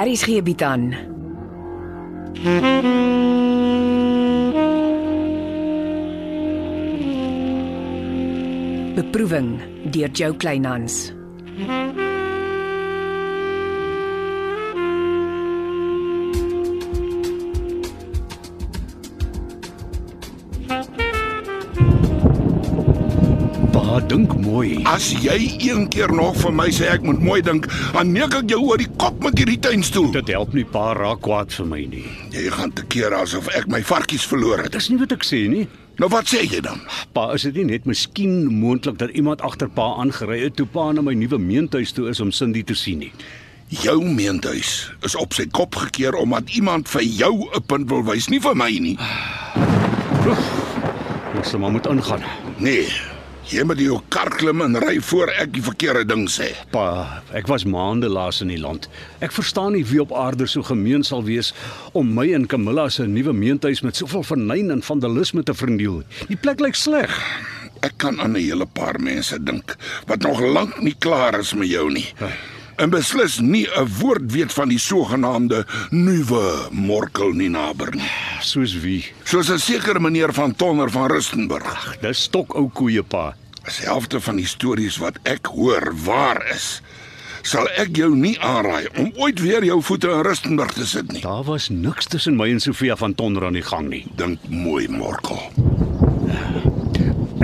Aries gee bied aan. Beproeving deur Jo Kleinhans. Pa, dink mooi. As jy een keer nog vir my sê ek moet mooi dink, dan neek ek jou oor die kop met hierdie tuinstoel. Dit help nie pa raak kwaad vir my nie. Jy gaan te keer asof ek my varkies verloor het. Dis nie wat ek sê nie. Nou wat sê jy dan? Pa, is dit nie net miskien moontlik dat iemand agter pa aangery het toe pa na my nuwe meentuis toe is om Cindy te sien nie? Jou meentuis is op sy kop gekeer omdat iemand vir jou 'n punt wil wys, nie vir my nie. Ek sê maar moet ingaan. Nee. Jy moet in jou kar klim en ry voor ek die verkeerde ding sê. Pa, ek was maande laas in die land. Ek verstaan nie wie op aarde so gemeen sal wees om my en Camilla se nuwe meentuis met soveel vernyn en vandalisme te verniel. Die plek lyk sleg. Ek kan aan 'n hele paar mense dink wat nog lank nie klaar is met jou nie. En beslis nie 'n woord weet van die sogenaamde nuwe morkel nie naber nie. Soos wie? Soos 'n sekere meneer van Tonner van Rustenburg. Dis stok ou koeie pa. As die helfte van die stories wat ek hoor waar is, sal ek jou nie aanraai om ooit weer jou voete in Rustenburg te sit nie. Daar was niks tussen my en Sofia van Tonner aan die gang nie. Dink mooi, Morkel.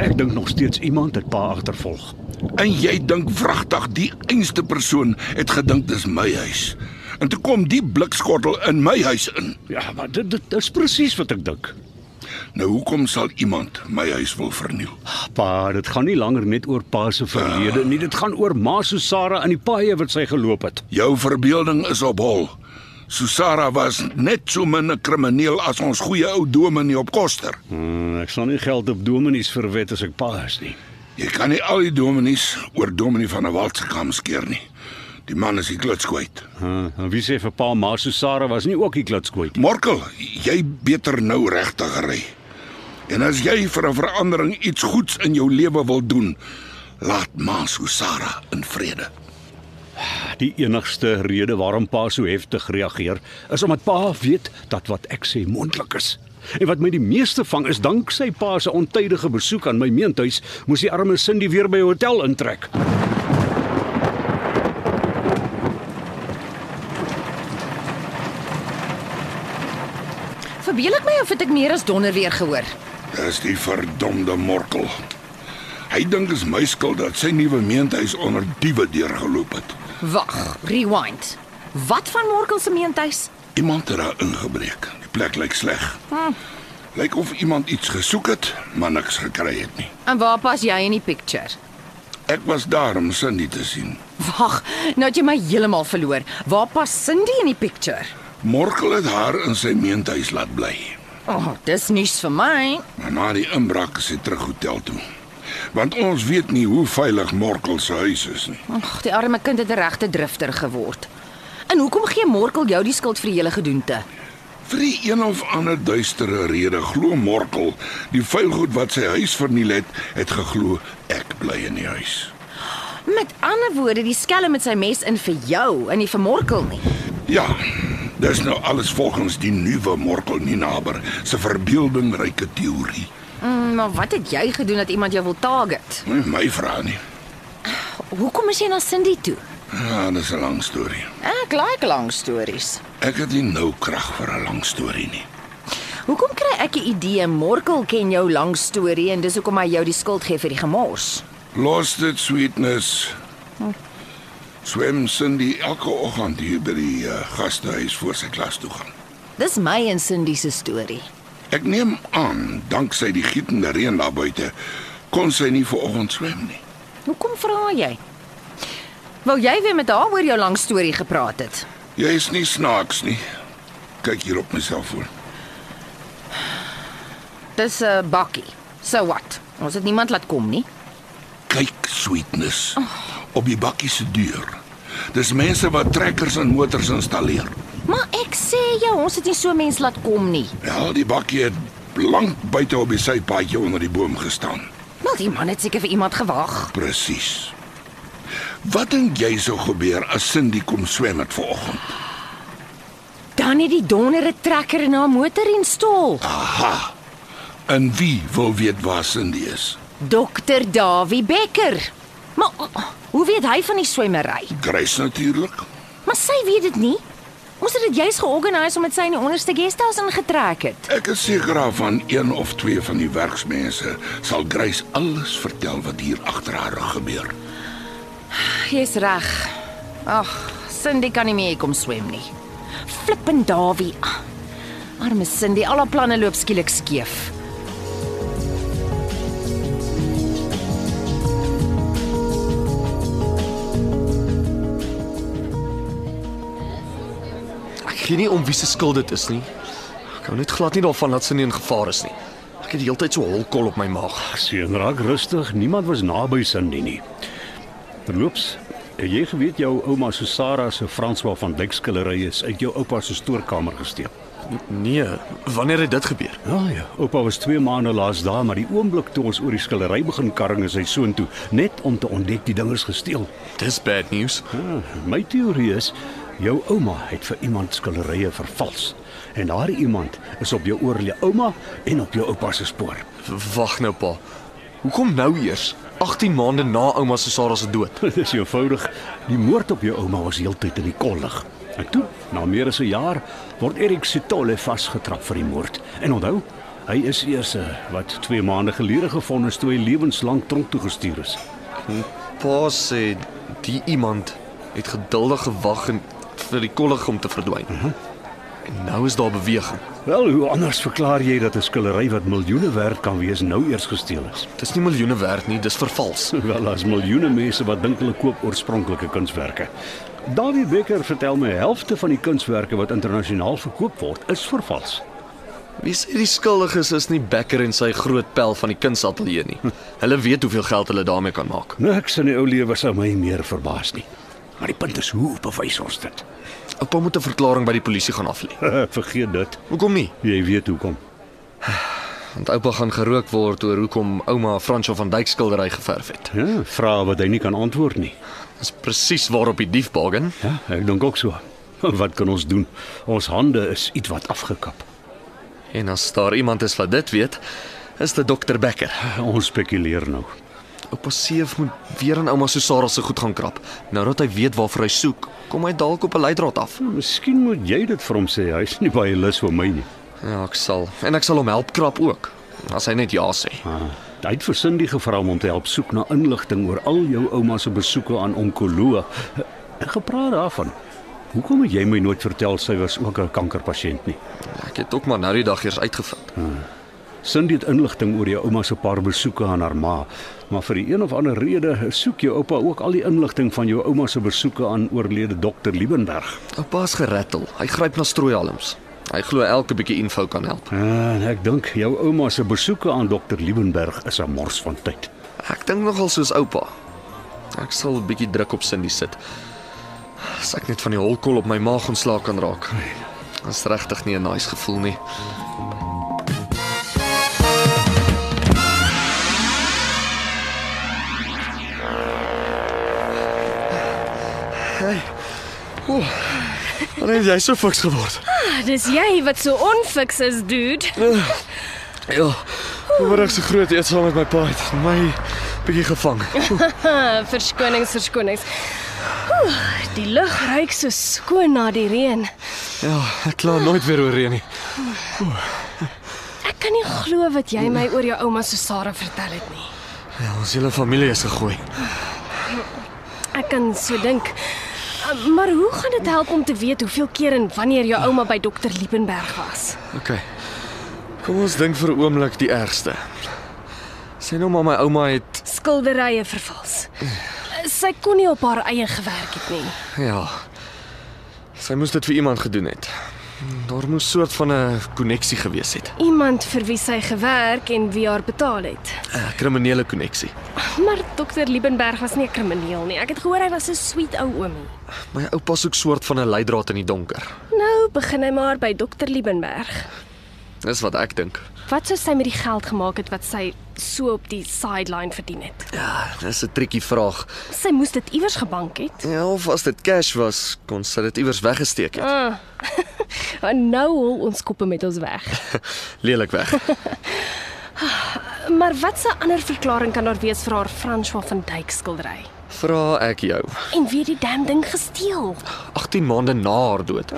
Ek dink nog steeds iemand het pa agtervolg. En jy dink wragtig die einste persoon het gedink dis my huis. En toe kom die blikskottel in my huis in. Ja, maar dit dit is presies wat ek dink. Nou hoekom sal iemand my huis wil verniel? Pa, dit gaan nie langer net oor pa se verlede nie, dit gaan oor ma Susara en die paaie wat sy geloop het. Jou verbeelding is op hol. Susara was net so min 'n krimineel as ons goeie ou dominee op Koster. Hmm, ek sal nie geld op dominees verwet as ek pa is nie. Jy kan nie al die dominees oor dominee van 'n wald se kam skeer nie. Die man is die kluts kwyt. Uh, en wie sê vir pa ma Susara was nie ook die klitskoot nie? Morkel, jy beter nou regtig ry. En as jy vir 'n verandering iets goeds in jou lewe wil doen, laat Ma Susara in vrede. Die enigste rede waarom pa so heftig reageer, is omdat pa weet dat wat ek sê moontlik is. En wat my die meeste vang is dank sy pa se ontydige besoek aan my meentuis, moes die arme Cindy weer by die hotel intrek. Verbeel ek my of het ek meer as donder weer gehoor? Dis die verdomde Morkel. Hy dink dis my skuld dat sy nuwe meentuis onder diewe deurgeloop het. Wag, rewind. Wat van Morkel se meentuis? Iemand het daar ingebreek. Die plek lyk sleg. Hm. Lyk of iemand iets gesoek het, maar niks gekry het nie. En waar pas jy in die picture? Ek was daar om Cindy te sien. Wag, nou het jy my heeltemal verloor. Waar pas Cindy in die picture? Morkel het haar in sy meentuis laat bly. O, oh, dis nuus vir my. Maar na die inbraak is sy terug hotel toe. Want ons weet nie hoe veilig Morkel se huis is nie. Ag, die arme kind het 'n regte drifter geword. En hoekom gee Morkel jou die skuld vir die hele gedoente? Vir die een of ander duistere rede glo Morkel die vuilgoed wat sy huis verniel het, het geglo ek bly in die huis. Met ander woorde, die skelm met sy mes in vir jou en nie vir Morkel nie. Ja. Dis nou alles volgens die nuwe Morkel Ninaber se verbeeldingryke teorie. Mm, maar wat het jy gedoen dat iemand jou wil target? Nie my vraag nie. Hoekom is jy na Cindy toe? Ja, dis 'n lang storie. Ek like lang stories. Ek het nie nou krag vir 'n lang storie nie. Hoekom kry ek die idee Morkel ken jou lang storie en dis hoekom hy jou die skuld gee vir die gemors? Lost it sweetness. Swem Cindy elke oggend hier by die uh, gastehuis voor sy klas toe gaan. Dis my en Cindy se storie. Ek neem aan, danksy die gietende reën daar buite, kon sy nie vanoggend swem nie. Hoekom vra jy? Wou jy weer met haar oor jou lang storie gepraat het? Jy is nie snaaks nie. Kyk hier op my selfoon. Dis 'n uh, bakkie. So wat? Ons het niemand laat kom nie. Kyk sweetness op die bakkie se deur. Dis mense wat trekkers en motors installeer. Maar ek sê jou, ons het nie so mens laat kom nie. Ja, die bakkie het lank buite op die sypaadjie onder die boom gestaan. Wel, die man het seker vir iemand gewag. Presies. Wat dink jy sou gebeur as Cindy kom swem het vanoggend? Dan het die dondere trekker na 'n motor instol. Aha. En wie wil weet waar Cindy is? Dokter Dawie Becker. Maar hoe weet hy van die swemmery? Grace natuurlik. Maar sy weet dit nie. Ons het dit juis georganiseer omdat sy in die onderste guesthouse ingetrek het. Ek is seker af van een of twee van die werksmense sal Grace alles vertel wat hier agter haar rug gebeur. Jy's reg. Ag, Cindy kan nie meer hier kom swem nie. Flippend Dawie. Ah, Arme Cindy, al haar planne loop skielik skeef. Ek gee nie om wie se skuld dit is nie. Ek hou net glad nie daarvan dat sy nie in gevaar is nie. Ek het die hele tyd so holkol op my maag. Seun raak rustig, niemand was naby Cindy nie. Verloops, het jy geweet jou ouma Susara se Franswa van Dyk skildery is uit jou oupa se stoorkamer gesteek? Nee, wanneer het dit gebeur? Ja ja, oupa was 2 maande laas daar, maar die oomblik toe ons oor die skildery begin karring is hy soontoe, net om te ontdek die ding is gesteel. Dis bad news. Ah, my teorie is jou ouma het vir iemand skilderye vervals en daardie iemand is op jou oorlede ouma en op jou oupa se spoor. Wag nou pa. Hoekom nou eers? 18 maande na ouma se Sarah se dood. Dit is eenvoudig. Die moord op jou ouma was heeltyd in die kollig. En toe, na meer as 'n jaar, word Erik Sitole vasgetrap vir die moord. En onthou, hy is eers eh, wat 2 maande gelede gevond is toe hy lewenslank tronk toegestuur is. Pa sê die iemand het geduldig gewag en vir die kollig om te verdwyn. Mhm. En nou is daar beweging. Wel, hoe anders verklaar jy dat 'n skildery wat miljoene werd kan wees nou eers gesteel is? Dis nie miljoene werd nie, dis vervals. Wel, daar's miljoene mense wat dink hulle koop oorspronklike kunswerke. Dawie Becker vertel my helfte van die kunswerke wat internasionaal verkoop word, is vervals. Wie sê die skuldiges is nie Becker en sy groot pel van die kunsateljee nie. Hulle weet hoeveel geld hulle daarmee kan maak. Niks in die ou lewe sou my meer verbaas nie. Maar die punt is hoe bewys ons dit? Oupa moet 'n verklaring by die polisie gaan aflê. Vergeet dit. Hoekom nie? Jy weet hoekom. Want oupa gaan gerook word oor hoekom ouma Fransjo van Dyk skildery geverf het. Ja, vrae wat hy nie kan antwoord nie. Dis presies waarop die dief bargain. Ja, ek dink ook so. Wat kan ons doen? Ons hande is ietwat afgekap. En as daar iemand is wat dit weet, is dit dokter Becker. Ons spekuleer nou. Oupa Seef moet weer aan ouma Susara se goed gaan krap. Nou dat hy weet waarvoor hy soek, kom hy dalk op 'n leidraad af. Miskien moet jy dit vir hom sê. Hy's nie baie lus vir my nie. Ja, ek sal. En ek sal hom help krap ook, as hy net ja sê. Ah, hy het vir Cindy gevra om hom te help soek na inligting oor al jou ouma se besoeke aan onkoloog. Ek gepraat daarvan. Hoekom het jy my nooit vertel sy was ook 'n kankerpasiënt nie? Ek het ook maar nou die dag eers uitgevind. Cindy het inligting oor jou ouma se paar besoeke aan haar ma, maar vir die een of ander rede soek jou oupa ook al die inligting van jou ouma se besoeke aan oorlede dokter Liebenberg. Oupa is gerattel. Hy gryp na strooihalms. Hy glo elke bietjie info kan help. En ek dink jou ouma se besoeke aan dokter Liebenberg is 'n mors van tyd. Ek dink nogal soos oupa. Ek sal 'n bietjie druk op Cindy sit. As ek net van die holkol op my maag ontslae kan raak. Dit is regtig nie 'n nice gevoel nie. Hey. Ooh. Wanneer het jy so fiks geword? Dis jy wat so onfiks is, dude. Ja. Vanmiddag se groot eet saam met my pa het my bietjie gevang. Ah, verskonings, verskonings. Oeh, die lug ruik so skoon na die reën. Ja, ek kla nooit weer oor reën nie. Ek kan nie glo wat jy my oor jou ouma Susara vertel het nie. Ja, ons hele familie is gegooi. Ek kan so dink. Ah, Maar hoe gaan dit help om te weet hoeveel keer en wanneer jou ouma by dokter Liebenberg was? OK. Kom ons dink vir 'n oomblik die ergste. Sê nou maar my ouma het Skilderye vervals. Sy kon nie op haar eie gewerk het nie. ja. Sy moes dit vir iemand gedoen het. Daar moes soort van 'n koneksie gewees het. Iemand vir wie sy gewerk en wie haar betaal het. 'n Kriminele koneksie. Maar dokter Liebenberg was nie 'n krimineel nie. Ek het gehoor hy was 'n sweet ou oomie. My oupa soek soort van 'n leidraad in die donker. Nou begin hy maar by dokter Liebenberg. Dis wat ek dink. Wat sou sy met die geld gemaak het wat sy so op die sideline verdien het? Ja, dis 'n triekie vraag. Sy moes dit iewers gebank het. Ja, of as dit cash was, kon sy dit iewers weggesteek het. Ah. En nou hol ons koppe met ons weg. Lelik weg. Maar watse ander verklaring kan daar wees vir haar François van Dyk skildery? Vra ek jou. En weer die damn ding gesteel. 18 maande na haar dood,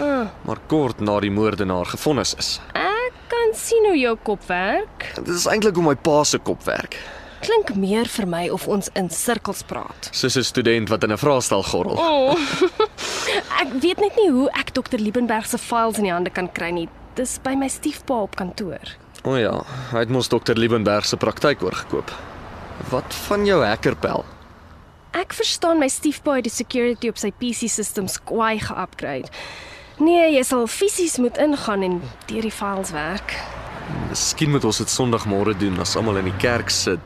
maar kort na die moordenaar gefonnis is. Ek kan sien hoe jou kop werk. Dit is eintlik hoe my pa se kop werk. Klink meer vir my of ons in sirkels praat. Soos 'n student wat in 'n vraestel gorrel. Oh. ek weet net nie hoe ek Dr. Liebenberg se files in die hande kan kry nie. Dis by my stiefpa op kantoor. O ja, hy het mos dokter Liebenberg se praktyk oorgekoop. Wat van jou hackerpel? Ek verstaan my stiefpa het die security op sy PC systems kwaai ge-upgrade. Nee, jy sal fisies moet ingaan en deur die files werk. Miskien moet ons dit Sondagmôre doen as almal in die kerk sit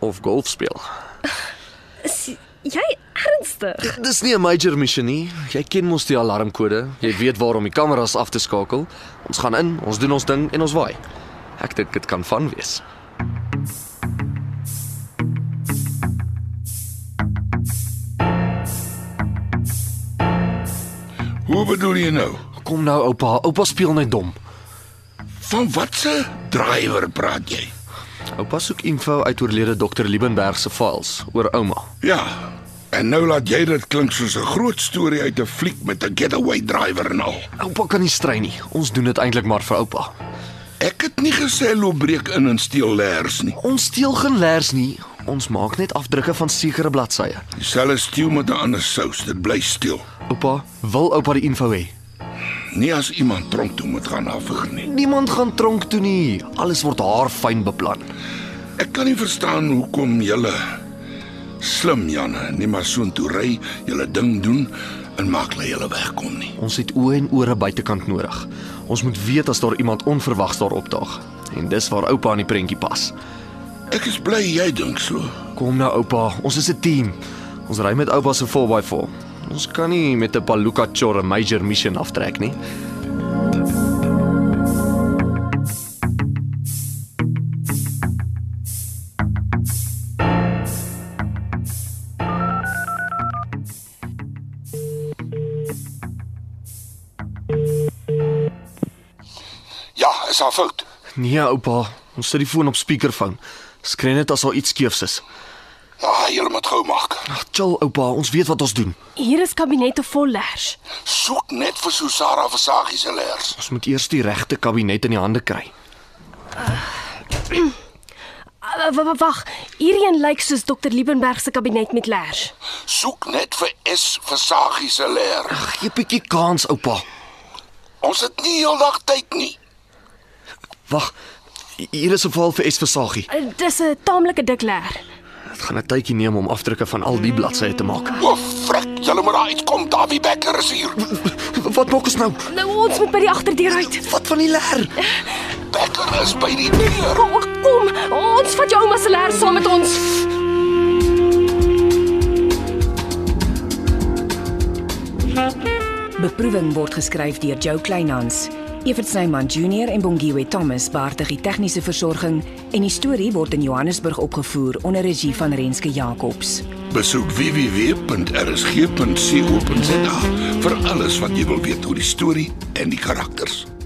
of golf speel. Is jy ernstig? Dis nie 'n major mission nie. Jy ken mos die alarmkode. Jy weet waar om die kameras af te skakel. Ons gaan in, ons doen ons ding en ons waai. Ek dink dit kan van wees. Hoe bedoel jy nou? Kom nou oupa, oupa speel net dom. Van watse drywer praat jy? Oupa soek info uit oorlede dokter Liebenberg se files oor ouma. Ja. En nou laat jy dit klink soos 'n groot storie uit 'n fliek met 'n getaway drywer en al. Oupa kan nie strei nie. Ons doen dit eintlik maar vir oupa. Ek het nie gesê loop breek in en steel leers nie. Ons steel geen leers nie. Ons maak net afdrukke van sekere bladsye. Dieselfde steel met 'n ander sous, dit bly steel. Oupa, wil oupa die info hê? Nie as iemand tronk toe moet gaan afwig nie. Niemand gaan tronk toe nie. Alles word haarfyn beplan. Ek kan nie verstaan hoekom julle slim Janne nie maar soontoe ry, julle ding doen en maak hulle julle wegkom nie. Ons het oë en ore buitekant nodig. Ons moet weet as daar iemand onverwags daar opdaag. En dis waar oupa aan die prentjie pas. Ek is bly jy dink so. Kom nou oupa, ons is 'n team. Ons ry met oupa se 4x4. Ons kan nie met 'n Baluka chor 'n major mission aftrek nie. Ja, is haar fout. Nee oupa, ons sit die foon op speakerphone. Skree net as daar iets skeefs is. Ja, julle moet gou maak. Ag, chill oupa, ons weet wat ons doen. Hier is kabinette vol lers. Soek net vir Susara Versagie se leers. Ons moet eers die regte kabinet in die hande kry. Ah, wa- wa- Wag, hierheen lyk soos Dr. Liebenberg se kabinet met lers. Soek net vir S Versagie se leer. Gee 'n bietjie kans, oupa. Ons het nie heeldag tyd nie. Wag. Hier is 'n val vir S Versagie. Eh, Dis 'n taamlike dik ler. Dit gaan 'n tydjie neem om afdrukke van al die bladsye te maak. O, frik, julle moet daar uitkom. Davie Becker is hier. Wat maak ons nou? Nou ons moet by die agterdeur uit. Wat van die leer? Becker is by die deur. Kom, kom, ons vat jou ouma se lers saam met ons. Beproeving word geskryf deur Jo Kleinhans. Evert Snyman Junior en Bongwe Thomas baartig die tegniese versorging en die storie word in Johannesburg opgevoer onder regie van Renske Jacobs. Besoek www.rsg.co.za vir alles wat jy wil weet oor die storie en die karakters.